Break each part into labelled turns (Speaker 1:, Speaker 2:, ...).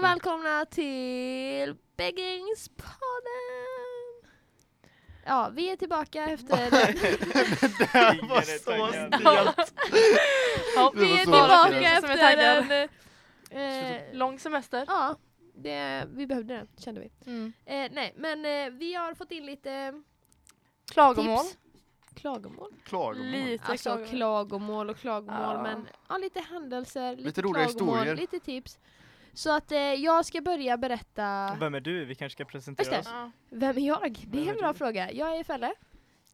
Speaker 1: och välkomna till Beggingspodden! Ja, vi är tillbaka efter...
Speaker 2: Det var så stelt.
Speaker 3: Ja,
Speaker 1: vi är
Speaker 2: Det var så
Speaker 1: tillbaka
Speaker 3: stelt. Som är
Speaker 1: efter en...
Speaker 3: taggad.
Speaker 1: eh, Eh,
Speaker 3: Lång semester.
Speaker 1: ja, det, vi behövde den, kände vi. Eh, nej, men eh, vi har fått in lite
Speaker 3: Klagomål.
Speaker 1: tips. Klagomål?
Speaker 2: Klagomål.
Speaker 3: Lite
Speaker 1: Alltså
Speaker 3: klagomål.
Speaker 1: klagomål och klagomål,
Speaker 3: Ja.
Speaker 1: men ja, lite händelser, lite,
Speaker 2: Lite roliga
Speaker 1: klagomål,
Speaker 2: historier.
Speaker 1: lite tips. Så att eh, jag ska börja berätta...
Speaker 4: Vem är du? Vi kanske ska presentera
Speaker 1: Just
Speaker 4: oss.
Speaker 3: Ja.
Speaker 1: Vem är jag? Det
Speaker 4: Vem
Speaker 1: är
Speaker 4: är
Speaker 1: en bra
Speaker 4: du?
Speaker 1: fråga. Jag är Felle.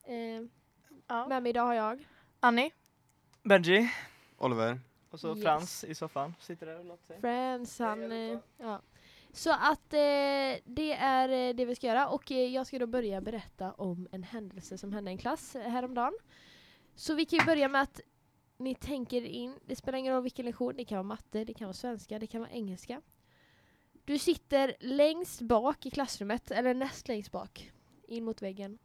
Speaker 1: Eh,
Speaker 3: Ja.
Speaker 1: Med mig idag har jag.
Speaker 3: Annie.
Speaker 4: Benji.
Speaker 2: Oliver.
Speaker 4: Och så
Speaker 1: Yes.
Speaker 4: Frans i soffan. Sitter där och låter sig.
Speaker 1: Friends, han...
Speaker 4: Hej
Speaker 1: Eh,
Speaker 4: allihopa.
Speaker 1: ja. Så att eh, det är eh, det vi ska göra och eh, jag ska då börja berätta om en händelse som hände i en klass eh, häromdagen. Så vi kan ju börja med att ni tänker in, det spelar ingen roll vilken lektion, det kan vara matte, det kan vara svenska, det kan vara engelska. Du sitter längst bak i klassrummet, eller näst längst bak, in mot väggen.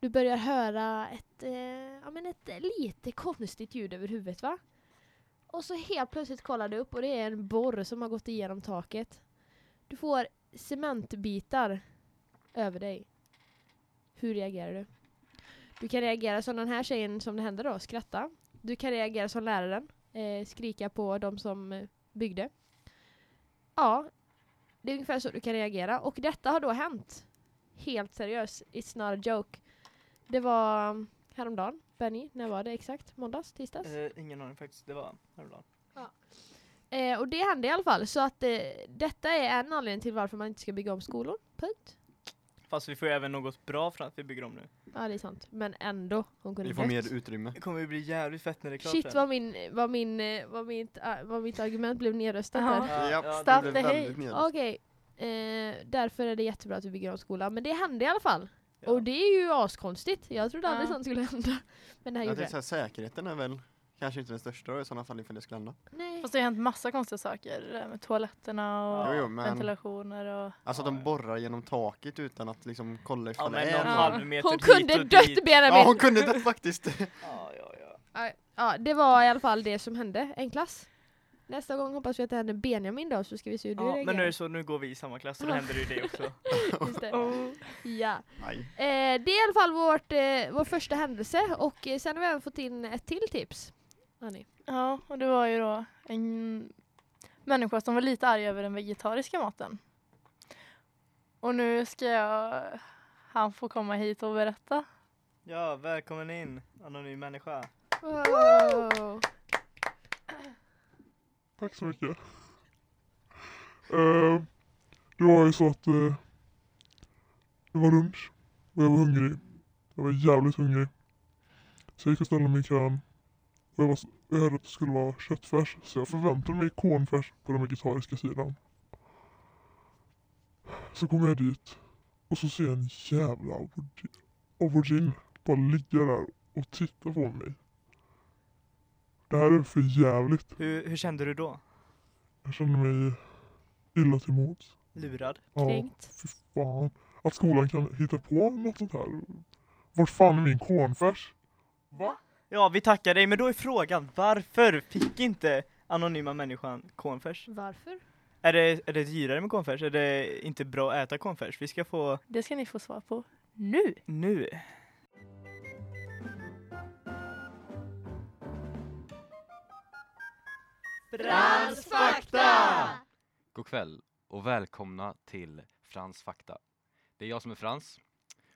Speaker 1: Du börjar höra ett, eh, ja, men ett lite konstigt ljud över huvudet va? Och så helt plötsligt kollar du upp och det är en borr som har gått igenom taket. Du får cementbitar över dig. Hur reagerar du? Du kan reagera som den här tjejen som det hände då, skratta. Du kan reagera som läraren, eh, skrika på de som eh, byggde. Ja, det är ungefär så du kan reagera. Och detta har då hänt. Helt seriöst, it's not a joke. Det var mm, häromdagen, Benny, när var det exakt? Måndags, tisdags?
Speaker 4: Eh, ingen aning faktiskt. Det var häromdagen.
Speaker 1: Eh, och det hände i alla fall, så att eh, detta är en anledning till varför man inte ska bygga om skolor. Punkt.
Speaker 4: Fast vi får ju även något bra för att vi bygger om nu.
Speaker 1: Ja, det är sant. Men ändå, hon kunde
Speaker 2: Vi får
Speaker 1: dött.
Speaker 2: mer utrymme.
Speaker 4: Det kommer ju bli jävligt fett när det är klart.
Speaker 1: Shit
Speaker 4: sen.
Speaker 1: vad, min, vad, min, eh, vad, mitt, ah, vad mitt argument blev nedröstat
Speaker 3: Ja.
Speaker 1: där.
Speaker 2: Ja, det
Speaker 3: Staff
Speaker 2: blev
Speaker 3: the hate.
Speaker 2: väldigt nedröstat.
Speaker 1: Okej, eh, därför är det jättebra att vi bygger om skolan. Men det hände i alla fall.
Speaker 4: Ja.
Speaker 1: Och det är ju askonstigt. Jag trodde aldrig
Speaker 3: Ja.
Speaker 1: sånt skulle hända. Men det här
Speaker 2: Jag
Speaker 1: gjorde
Speaker 2: tänkte
Speaker 1: det.
Speaker 2: säga, säkerheten är väl kanske inte den största då, i sådana fall ifall det skulle hända.
Speaker 1: Nej.
Speaker 3: Fast det har hänt massa konstiga saker. det där Med toaletterna och
Speaker 2: Jo, jo, men
Speaker 3: ventilationer och...
Speaker 2: alltså att de borrar genom taket utan att liksom kolla
Speaker 4: Ja,
Speaker 2: ifall det
Speaker 4: men
Speaker 2: är
Speaker 4: någon
Speaker 3: Ja.
Speaker 2: någon.
Speaker 4: halv meter
Speaker 1: Hon
Speaker 4: typ hit
Speaker 1: kunde
Speaker 4: och
Speaker 1: dött
Speaker 4: dit.
Speaker 1: Benjamin!
Speaker 2: Ja, hon kunde det faktiskt.
Speaker 4: Ja, ja, ja.
Speaker 1: Ja, Ja, det var i alla fall det som hände. En klass. Nästa gång hoppas vi att det händer Benjamin då, så ska vi se hur du
Speaker 4: ja
Speaker 1: reagerar.
Speaker 4: men nu är det så, nu går vi i samma klass och
Speaker 1: Ah.
Speaker 4: då händer det ju det också.
Speaker 1: Just det.
Speaker 3: Oh.
Speaker 1: Ja.
Speaker 2: Nej.
Speaker 1: Eh, det är i alla fall vårt, eh, vår första händelse och eh, sen har vi även fått in ett till tips. Annie.
Speaker 3: Ja, och det var ju då en människa som var lite arg över den vegetariska maten. Och nu ska jag... han få komma hit och berätta.
Speaker 4: Ja, välkommen in anonym människa.
Speaker 1: Wow.
Speaker 5: Tack så mycket. Eh, det var ju så att eh, det var lunch och jag var hungrig. Jag var jävligt hungrig. Så jag gick och ställde mig i kön. Och jag, var, s- jag hörde att det skulle vara köttfärs så jag förväntade mig cornfärs på den vegetariska sidan. Så kom jag dit och så ser jag en jävla aubergi- aubergine bara ligga där och titta på mig. Det här är för jävligt.
Speaker 4: Hur, hur kände du då?
Speaker 5: Jag känner mig illa till mods.
Speaker 4: Lurad?
Speaker 5: Ja,
Speaker 1: Kränkt.
Speaker 5: fy fan. Att skolan kan hitta på något sånt här. Vart fan är min cornfärs? Va?
Speaker 4: Ja, vi tackar dig, men då är frågan varför fick inte anonyma människan cornfärs?
Speaker 1: Varför?
Speaker 4: Är det, är det dyrare med cornfärs? Är det inte bra att äta cornfärs? Vi ska få
Speaker 3: Det ska ni få svar på nu.
Speaker 4: nu.
Speaker 1: Frans fakta!
Speaker 6: God kväll och välkomna till Frans fakta. Det är jag som är Frans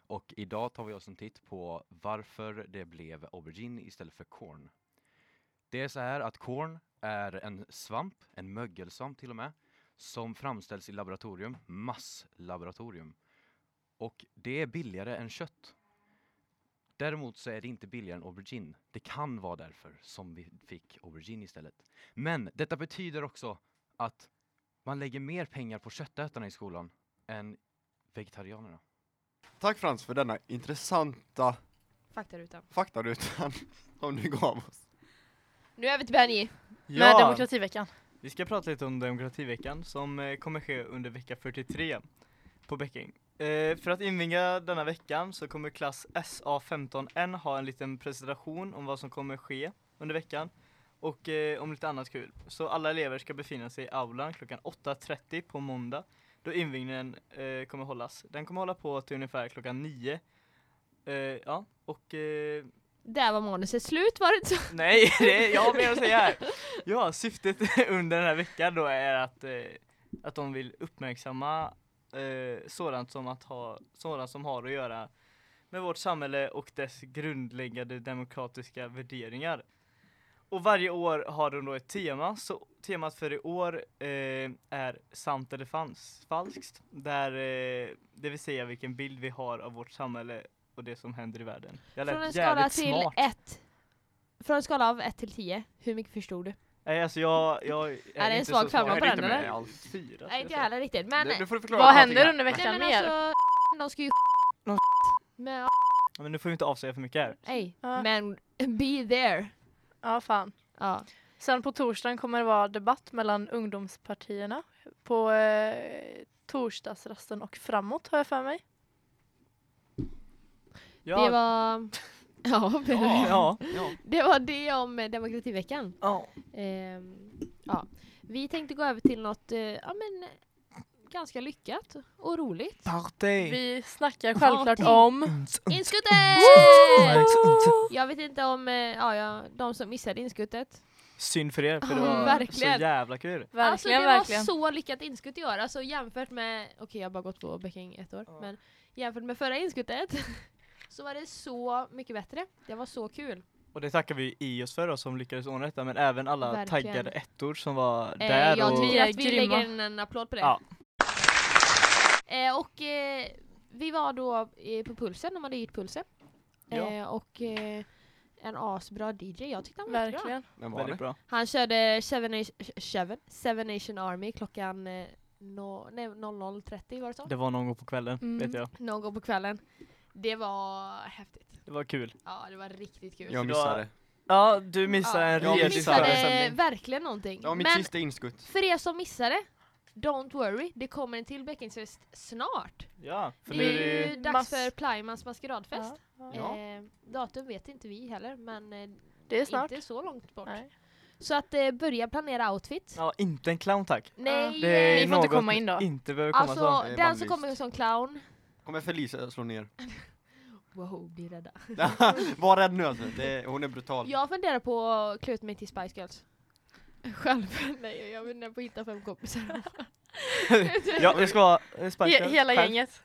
Speaker 6: och idag tar vi oss en titt på varför det blev aubergine istället för korn. Det är så här att korn är en svamp, en mögelsvamp till och med, som framställs i laboratorium, masslaboratorium. Och det är billigare än kött. Däremot så är det inte billigare än aubergine. Det kan vara därför som vi fick aubergine istället. Men detta betyder också att man lägger mer pengar på köttätarna i skolan än vegetarianerna.
Speaker 2: Tack Frans för denna intressanta
Speaker 1: Faktarutan.
Speaker 2: faktarutan som du gav oss.
Speaker 1: Nu över till Benji.
Speaker 3: Med demokrativeckan.
Speaker 4: vi ska prata lite om demokrativeckan som eh, kommer ske under vecka 43 på Becking. Eh, för att inviga denna veckan så kommer klass SA15N ha en liten presentation om vad som kommer ske under veckan och eh, om lite annat kul. Så alla elever ska befinna sig i aulan klockan 8.30 på måndag då invigningen eh, kommer hållas. Den kommer hålla på till ungefär klockan 9. Eh, ja, och eh,
Speaker 1: Där var manuset slut var det inte så?
Speaker 4: Nej, det är, jag har mer att säga här. Ja, syftet under den här veckan då är att, eh, att de vill uppmärksamma eh, sådant, som att ha, sådant som har att göra med vårt samhälle och dess grundläggande demokratiska värderingar. Och varje år har de då ett tema, så temat för i år eh, är sant eller fans, falskt. Där, eh, det vill säga vilken bild vi har av vårt samhälle och det som händer i världen. Jag
Speaker 1: Från en
Speaker 4: lät
Speaker 1: skala
Speaker 4: jävligt
Speaker 1: till
Speaker 4: smart.
Speaker 1: 1. Från en skala av 1 till 10, hur mycket förstod du?
Speaker 4: Nej alltså jag, jag är,
Speaker 1: det en
Speaker 4: inte
Speaker 1: svag
Speaker 4: så
Speaker 1: femma
Speaker 4: smart.
Speaker 1: på
Speaker 4: Jag är
Speaker 1: den,
Speaker 4: inte med
Speaker 1: eller?
Speaker 4: alls. Fyra,
Speaker 1: Nej inte
Speaker 4: ska
Speaker 1: jag
Speaker 4: jag
Speaker 1: heller riktigt men... eh,
Speaker 2: Du, du får förklara
Speaker 3: Vad
Speaker 2: någonting
Speaker 3: händer
Speaker 2: här.
Speaker 3: under
Speaker 1: Nej
Speaker 3: veckan
Speaker 1: men
Speaker 3: mer?
Speaker 1: alltså, de ska ju
Speaker 4: De-
Speaker 1: Men,
Speaker 4: säga. Men nu får vi inte avslöja för mycket här.
Speaker 1: nej,
Speaker 3: Ja.
Speaker 1: men be there.
Speaker 3: Ja, fan.
Speaker 1: Ja.
Speaker 3: Sen på torsdagen kommer det vara debatt mellan ungdomspartierna på eh, torsdagsrasten och framåt har jag för mig.
Speaker 1: Det var... Ja,
Speaker 4: ja.
Speaker 2: Ja.
Speaker 1: det var det om eh, demokrativeckan.
Speaker 4: ja.
Speaker 1: Ehm, ja. Vi tänkte gå över till något eh, ja, men, ganska lyckat och roligt.
Speaker 4: Party!
Speaker 3: Vi snackar självklart om
Speaker 1: Inskuttet! Jag vet inte om eh, ja, ja, de som missade inskuttet.
Speaker 4: Synd för er för det
Speaker 1: Ja,
Speaker 4: var
Speaker 1: verkligen.
Speaker 4: så jävla kul.
Speaker 3: verkligen,
Speaker 1: alltså det
Speaker 3: verkligen.
Speaker 1: var så lyckat inskutt i år. Alltså jämfört med, okej jag har bara gått på Becking ett år,
Speaker 4: Ja.
Speaker 1: men jämfört med förra inskuttet så var det så mycket bättre. Det var så kul.
Speaker 4: Och det tackar vi i oss för då, som lyckades ordna detta men även alla
Speaker 1: Verkligen.
Speaker 4: taggade ettor som var
Speaker 1: Eh,
Speaker 4: där
Speaker 1: jag
Speaker 4: och...
Speaker 1: tror
Speaker 3: Ni är
Speaker 1: att vi
Speaker 3: grymma.
Speaker 1: lägger en, en applåd på det.
Speaker 4: Ja.
Speaker 1: Eh, och eh, vi var då eh, på Pulsen, de hade hyrt Pulsen.
Speaker 4: Ja.
Speaker 1: Eh, och eh, en asbra DJ, jag tyckte han var jättebra.
Speaker 3: Verkligen.
Speaker 2: Men var
Speaker 4: Väldigt
Speaker 2: det?
Speaker 4: bra.
Speaker 1: Han körde Seven, Nation- Seven, Seven Nation Army klockan eh, no, nej, 00.30 var det så?
Speaker 4: Det var någon gång på kvällen,
Speaker 3: Mm.
Speaker 4: vet jag.
Speaker 1: Någon gång på kvällen. Det var häftigt.
Speaker 4: Det var kul.
Speaker 1: Ja, det var riktigt kul.
Speaker 2: Jag missade.
Speaker 4: Ja, du missade en
Speaker 2: jag
Speaker 1: jag
Speaker 4: rejäl
Speaker 2: missade-
Speaker 4: söndag.
Speaker 1: missade
Speaker 2: föreställning.
Speaker 1: verkligen någonting.
Speaker 2: Ja, mitt
Speaker 1: Men
Speaker 2: sista inskutt.
Speaker 1: för er som missade, don't worry, det kommer en till Bäckensfest snart.
Speaker 4: Ja, för nu
Speaker 1: det är
Speaker 4: är
Speaker 1: ju
Speaker 4: det
Speaker 1: dags
Speaker 3: mass-
Speaker 1: för Plymans maskeradfest.
Speaker 3: Ja,
Speaker 2: Ja.
Speaker 1: Eh, datum vet inte vi heller, men eh,
Speaker 3: Det är snart.
Speaker 1: inte så långt bort.
Speaker 3: Nej.
Speaker 1: Så att eh, börja planera outfits.
Speaker 4: Ja, inte en clown tack.
Speaker 1: Nej, eh,
Speaker 4: Det är
Speaker 3: Ni får inte
Speaker 4: något
Speaker 3: komma in då.
Speaker 4: inte behöver komma så.
Speaker 1: alltså
Speaker 2: Det är
Speaker 1: den som
Speaker 2: bannlyst.
Speaker 1: kommer som clown,
Speaker 2: Kommer Felicia slå ner?
Speaker 1: wow, bli rädda.
Speaker 2: Var rädd nu alltså. Det, hon är brutal.
Speaker 1: Jag funderar på att klä ut mig till Spice Girls. Själv? Nej, jag funderar på att hitta fem kompisar.
Speaker 4: Ja, jag ska vara eh,
Speaker 3: He-
Speaker 4: sparkad.
Speaker 3: hela
Speaker 4: Tack.
Speaker 3: gänget.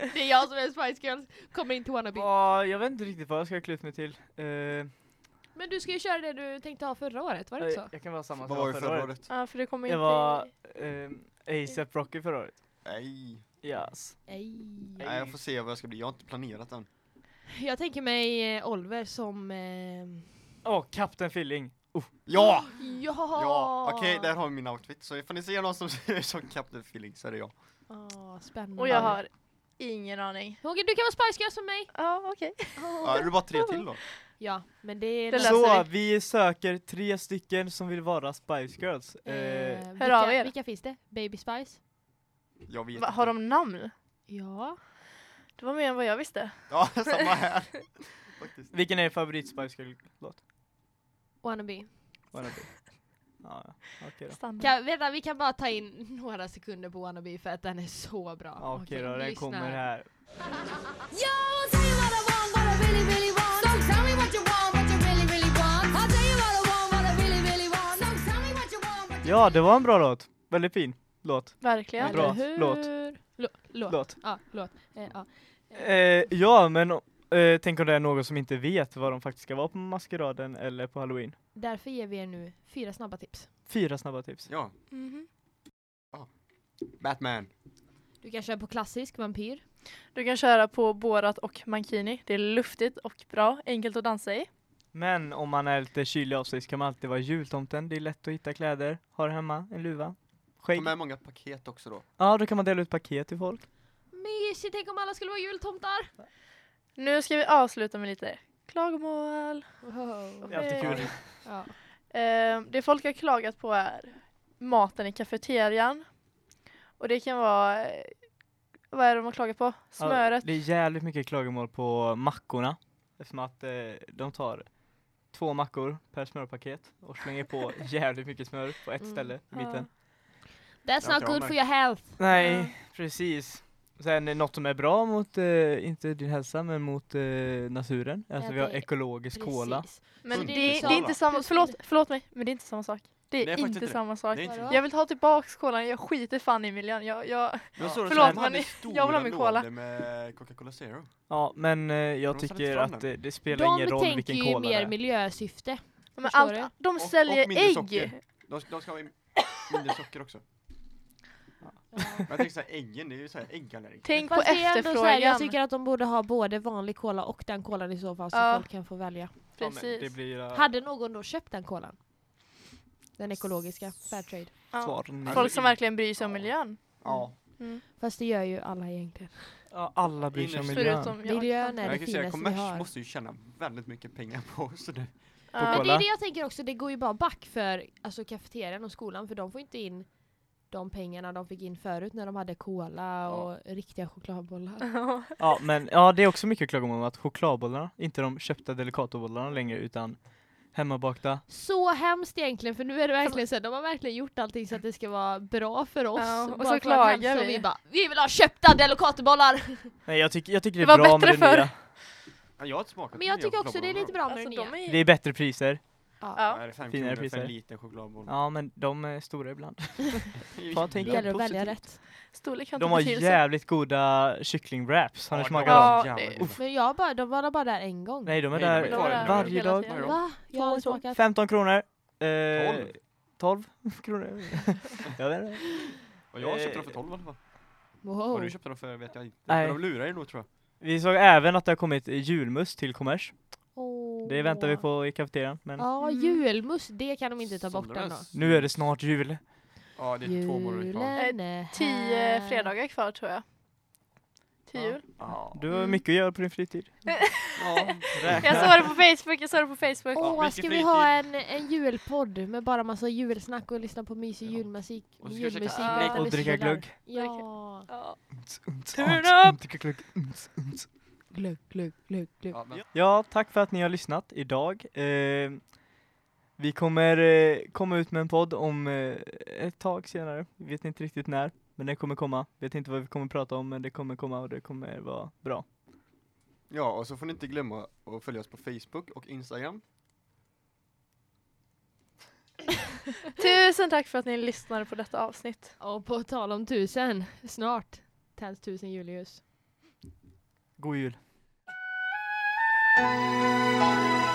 Speaker 1: Det är jag som är Spice Girls, kommer in till Wannabe.
Speaker 4: Ja, jag vet inte riktigt vad jag ska klä ut mig till. Eh,
Speaker 1: Men du ska ju köra det du tänkte ha förra året, var det inte så?
Speaker 4: Jag, jag kan vara samma
Speaker 2: Vad
Speaker 4: som
Speaker 2: var
Speaker 4: jag
Speaker 2: det
Speaker 4: var förra året.
Speaker 3: Ja, för det kommer inte...
Speaker 4: Jag var eh, ASAP Rocky förra året.
Speaker 2: Nej.
Speaker 4: Yes.
Speaker 1: Nej.
Speaker 2: Nej, jag får se vad jag ska bli. Jag har inte planerat än.
Speaker 1: Jag tänker mig eh, Oliver som... Eh...
Speaker 4: Åh, Kapten Filling.
Speaker 2: Ja!
Speaker 1: Ja!
Speaker 2: Ja, okej, där har vi min outfit. Så ifall ni ser någon som ser ut som Captain Feeling så är det jag.
Speaker 1: Ah, spännande.
Speaker 3: Och jag har ingen aning.
Speaker 1: Roger, du kan vara Spice Girls för mig!
Speaker 3: Ja, okej.
Speaker 2: Ja, är det bara tre till då?
Speaker 1: Ja, men det är...
Speaker 3: Det
Speaker 1: något-
Speaker 3: löser
Speaker 4: Så,
Speaker 3: vi.
Speaker 4: vi söker tre stycken som vill vara Spice Girls. Eh,
Speaker 1: Eh,
Speaker 3: Hör av
Speaker 1: vilka,
Speaker 3: er.
Speaker 1: vilka finns det? Baby Spice?
Speaker 2: Jag vet
Speaker 3: Va, Har
Speaker 2: inte.
Speaker 3: de namn?
Speaker 1: Ja.
Speaker 3: Det var mer än vad jag visste.
Speaker 2: Ja, samma här. Faktiskt.
Speaker 4: vilken är er favorit Spice Girl-låt?
Speaker 1: Wannabe.
Speaker 4: Wanna Be? Ja, ja. okej då.
Speaker 3: Standard.
Speaker 1: Kan, vänta, vi kan bara ta in några sekunder på Wannabe för att den är så bra.
Speaker 4: Ja, Okej då, den
Speaker 1: lyssna
Speaker 4: kommer här.
Speaker 7: Yo, tell me what I want, what I really, really want. So tell me what you want, what you really, really want. I'll tell you what I want, what I really, really want. So tell me what you want, what you
Speaker 4: Ja, det var en bra låt. Väldigt fin låt.
Speaker 3: Verkligen.
Speaker 1: Eller
Speaker 4: Bra,
Speaker 1: hur?
Speaker 4: låt.
Speaker 1: Lå- låt.
Speaker 4: låt.
Speaker 1: Ja, låt. Eh, ja.
Speaker 4: Eh, ja, men eh, tänk om det är någon som inte vet vad de faktiskt ska vara på maskeraden eller på halloween.
Speaker 1: Därför ger vi er nu fyra snabba tips.
Speaker 4: Fyra snabba tips.
Speaker 2: Ja,
Speaker 3: Mhm.
Speaker 2: Batman.
Speaker 1: Du kan köra på klassisk vampyr.
Speaker 3: Du kan köra på Borat och Mankini. Det är luftigt och bra. Enkelt att dansa i.
Speaker 4: Men om man är lite kylig av sig så kan man alltid vara jultomten. Det är lätt att hitta kläder. Har hemma en luva.
Speaker 2: Ta
Speaker 4: Skägg.
Speaker 2: med många paket också då.
Speaker 4: Ja, då kan man dela ut paket till folk.
Speaker 1: Mysigt, tänk om alla skulle vara jultomtar!
Speaker 3: Nu ska vi avsluta med lite klagomål.
Speaker 1: Wow.
Speaker 4: Ja. alltid kul.
Speaker 3: Eh,
Speaker 1: Ja.
Speaker 3: Eh, det folk har klagat på är maten i kafeterian. Och det kan vara, eh, vad är det de har klagat på? Smöret.
Speaker 4: Ja, det är jävligt mycket klagomål på mackorna. Eftersom att eh, de tar två mackor per smörpaket och slänger på jävligt mycket smör på ett
Speaker 1: Mm.
Speaker 4: ställe i
Speaker 3: Ja.
Speaker 4: mitten.
Speaker 1: That's not good for your health.
Speaker 3: Ja.
Speaker 4: Nej, precis. Sen eh, något som är bra mot, eh, inte din hälsa, men mot eh, naturen. Alltså
Speaker 1: Ja,
Speaker 4: vi har
Speaker 1: det-
Speaker 4: ekologisk kola.
Speaker 1: Precis.
Speaker 3: Men
Speaker 1: Så
Speaker 3: det,
Speaker 1: det är
Speaker 3: det,
Speaker 1: liksom-
Speaker 3: är inte samma,
Speaker 1: Plus-
Speaker 3: förlåt, förlåt mig, men det är inte samma sak. Det är,
Speaker 2: Det är faktiskt
Speaker 3: inte,
Speaker 2: inte det.
Speaker 3: samma sak.
Speaker 2: Det är inte
Speaker 1: Vadå?
Speaker 2: det.
Speaker 3: Jag vill ta tillbaks kolan, jag skiter fan i miljön. Jag, jag,
Speaker 2: Men så
Speaker 3: Förlåt,
Speaker 2: de hade
Speaker 3: men
Speaker 2: stora
Speaker 3: jag vill ha min cola.
Speaker 2: lådor med Coca-Cola Zero.
Speaker 4: Ja, men eh, jag
Speaker 2: De satte
Speaker 4: tycker
Speaker 2: fram
Speaker 4: att
Speaker 2: den.
Speaker 4: eh, det spelar ingen roll
Speaker 1: tänker
Speaker 4: vilken
Speaker 1: ju
Speaker 4: kola det
Speaker 1: mer
Speaker 4: är.
Speaker 1: miljösyfte.
Speaker 3: men
Speaker 1: Förstår
Speaker 3: allt, de
Speaker 2: Och- och
Speaker 3: säljer
Speaker 2: mindre
Speaker 3: ägg.
Speaker 2: socker. De, de ska ha in- mindre socker också. Men jag tänker såhär, äggen, det är ju såhär äggallergiker.
Speaker 3: Tänk på
Speaker 1: Fast det är ändå så här,
Speaker 3: efterfrågan.
Speaker 1: jag tycker att de borde ha både vanlig cola och den kolan i så fall så
Speaker 3: Ja.
Speaker 1: folk kan få välja.
Speaker 4: Ja, men
Speaker 3: Precis.
Speaker 4: det blir eh,
Speaker 1: Hade någon då köpt den kolan? Den ekologiska, Fairtrade.
Speaker 3: Ja.
Speaker 4: svaren.
Speaker 3: Folk som verkligen bryr sig om miljön.
Speaker 2: Ja.
Speaker 1: Fast det gör ju alla egentligen.
Speaker 4: Ja, alla bryr sig om
Speaker 2: Innerst-
Speaker 4: miljön.
Speaker 3: Förutom jag.
Speaker 1: Miljön är
Speaker 2: Men
Speaker 1: det
Speaker 2: jag kan ju säga,
Speaker 1: finaste vi
Speaker 2: kommers
Speaker 1: har.
Speaker 2: måste ju tjäna väldigt mycket pengar på oss nu.
Speaker 1: Men det
Speaker 4: Cola.
Speaker 1: är det jag tänker också, det går ju bara back för alltså, kafeterian och skolan för de får inte in de pengarna de fick in förut när de hade cola och riktiga chokladbollar.
Speaker 3: Ja.
Speaker 4: Ja, men ja, det är också mycket klagomål om att chokladbollarna, inte de köpta delicatobollarna längre utan hemmabakta.
Speaker 1: Så hemskt egentligen för nu är det verkligen så här, de har verkligen gjort allting så att det ska vara bra för oss.
Speaker 3: Ja, och
Speaker 1: Bara
Speaker 3: så
Speaker 1: för att
Speaker 3: klagar
Speaker 1: hälsa och
Speaker 3: vi.
Speaker 1: vi bara, vi vill ha köpta delicatobollar!
Speaker 4: Nej, jag, tycker jag tycker det är
Speaker 3: Det var
Speaker 4: bra
Speaker 3: bättre
Speaker 4: med det
Speaker 3: förr.
Speaker 4: nya.
Speaker 2: Ja, jag har inte smakat
Speaker 1: Men jag
Speaker 2: nya
Speaker 1: tycker också det är
Speaker 2: chokladbollarna.
Speaker 1: lite bra med
Speaker 3: Alltså,
Speaker 1: det nya.
Speaker 3: de är,
Speaker 4: Det är bättre priser.
Speaker 2: Ja,
Speaker 3: ja.
Speaker 2: det är fem
Speaker 4: Finare
Speaker 2: kronor för
Speaker 4: priser.
Speaker 2: en liten chokladboll.
Speaker 4: Ja, men de är stora ibland. fan, tänk
Speaker 1: Det gäller att välja
Speaker 2: Positivt.
Speaker 1: rätt.
Speaker 3: Storlek har inte
Speaker 4: De har
Speaker 3: betydelse.
Speaker 4: jävligt goda kycklingwraps. Har ni
Speaker 2: Ja,
Speaker 4: smakat
Speaker 2: det var
Speaker 4: dem?
Speaker 3: Ja,
Speaker 2: jävligt
Speaker 3: det-
Speaker 2: gott.
Speaker 1: Men jag bara, de var bara där en gång.
Speaker 4: Nej, de är
Speaker 2: Nej, de är
Speaker 4: där
Speaker 2: kvar
Speaker 3: där.
Speaker 4: varje
Speaker 3: Hela
Speaker 4: dag.
Speaker 3: tiden.
Speaker 1: Va? Jag har smakat.
Speaker 4: 15 kronor. Eh,
Speaker 2: Tolv.
Speaker 4: 12 kronor. jag vet inte.
Speaker 2: Och jag köpte
Speaker 4: Eh,
Speaker 2: dem för 12 i alla fall. Vad
Speaker 1: Wow.
Speaker 2: du köpte dem för vet jag inte.
Speaker 4: Nej.
Speaker 2: Men de lurar er nog tror jag.
Speaker 4: Vi såg även att det har kommit julmust till kommers. Det väntar vi
Speaker 1: Åh.
Speaker 4: på i kafeterian. Men
Speaker 1: Ja,
Speaker 3: Mm.
Speaker 1: julmust, det kan de inte ta bort
Speaker 2: Sålde
Speaker 1: ändå.
Speaker 2: den.
Speaker 4: nu är det snart jul.
Speaker 2: Ja, det är två månader
Speaker 1: Julen
Speaker 2: kvar.
Speaker 1: är här.
Speaker 3: Eh, Tio fredagar kvar tror jag. Till
Speaker 2: Ja.
Speaker 3: jul.
Speaker 2: Ja.
Speaker 4: Du har
Speaker 1: Mm.
Speaker 4: mycket att göra på din fritid.
Speaker 2: Ja,
Speaker 3: Jag
Speaker 2: räkna.
Speaker 3: såg det på Facebook, jag såg det på Facebook.
Speaker 1: Åh,
Speaker 2: mycket
Speaker 1: ska vi
Speaker 2: fritid.
Speaker 1: ha en, en julpodd med bara massa julsnack och lyssna på mysig
Speaker 2: Ja.
Speaker 1: julmusik?
Speaker 2: Och så ska vi käka
Speaker 1: julmusik
Speaker 3: snäck
Speaker 1: utan
Speaker 4: Och
Speaker 1: att
Speaker 4: dricka
Speaker 1: kyla.
Speaker 4: glögg.
Speaker 1: Ja.
Speaker 3: Ja. Turn
Speaker 4: Turn
Speaker 3: up!
Speaker 4: up!
Speaker 1: Glögg, glögg, glögg, glögg.
Speaker 2: Ja, men-
Speaker 4: Ja, tack för att ni har lyssnat idag. Eh, vi kommer eh, komma ut med en podd om eh, ett tag senare. Vi vet inte riktigt när, men den kommer komma. Vet inte vad vi kommer prata om, men det kommer komma och det kommer vara bra.
Speaker 2: Ja, och så får ni inte glömma att följa oss på Facebook och Instagram.
Speaker 3: Tusen tack för att ni lyssnade på detta avsnitt.
Speaker 1: Och på tal om tusen, snart tänds tusen julius.
Speaker 4: God jul!
Speaker 7: Thank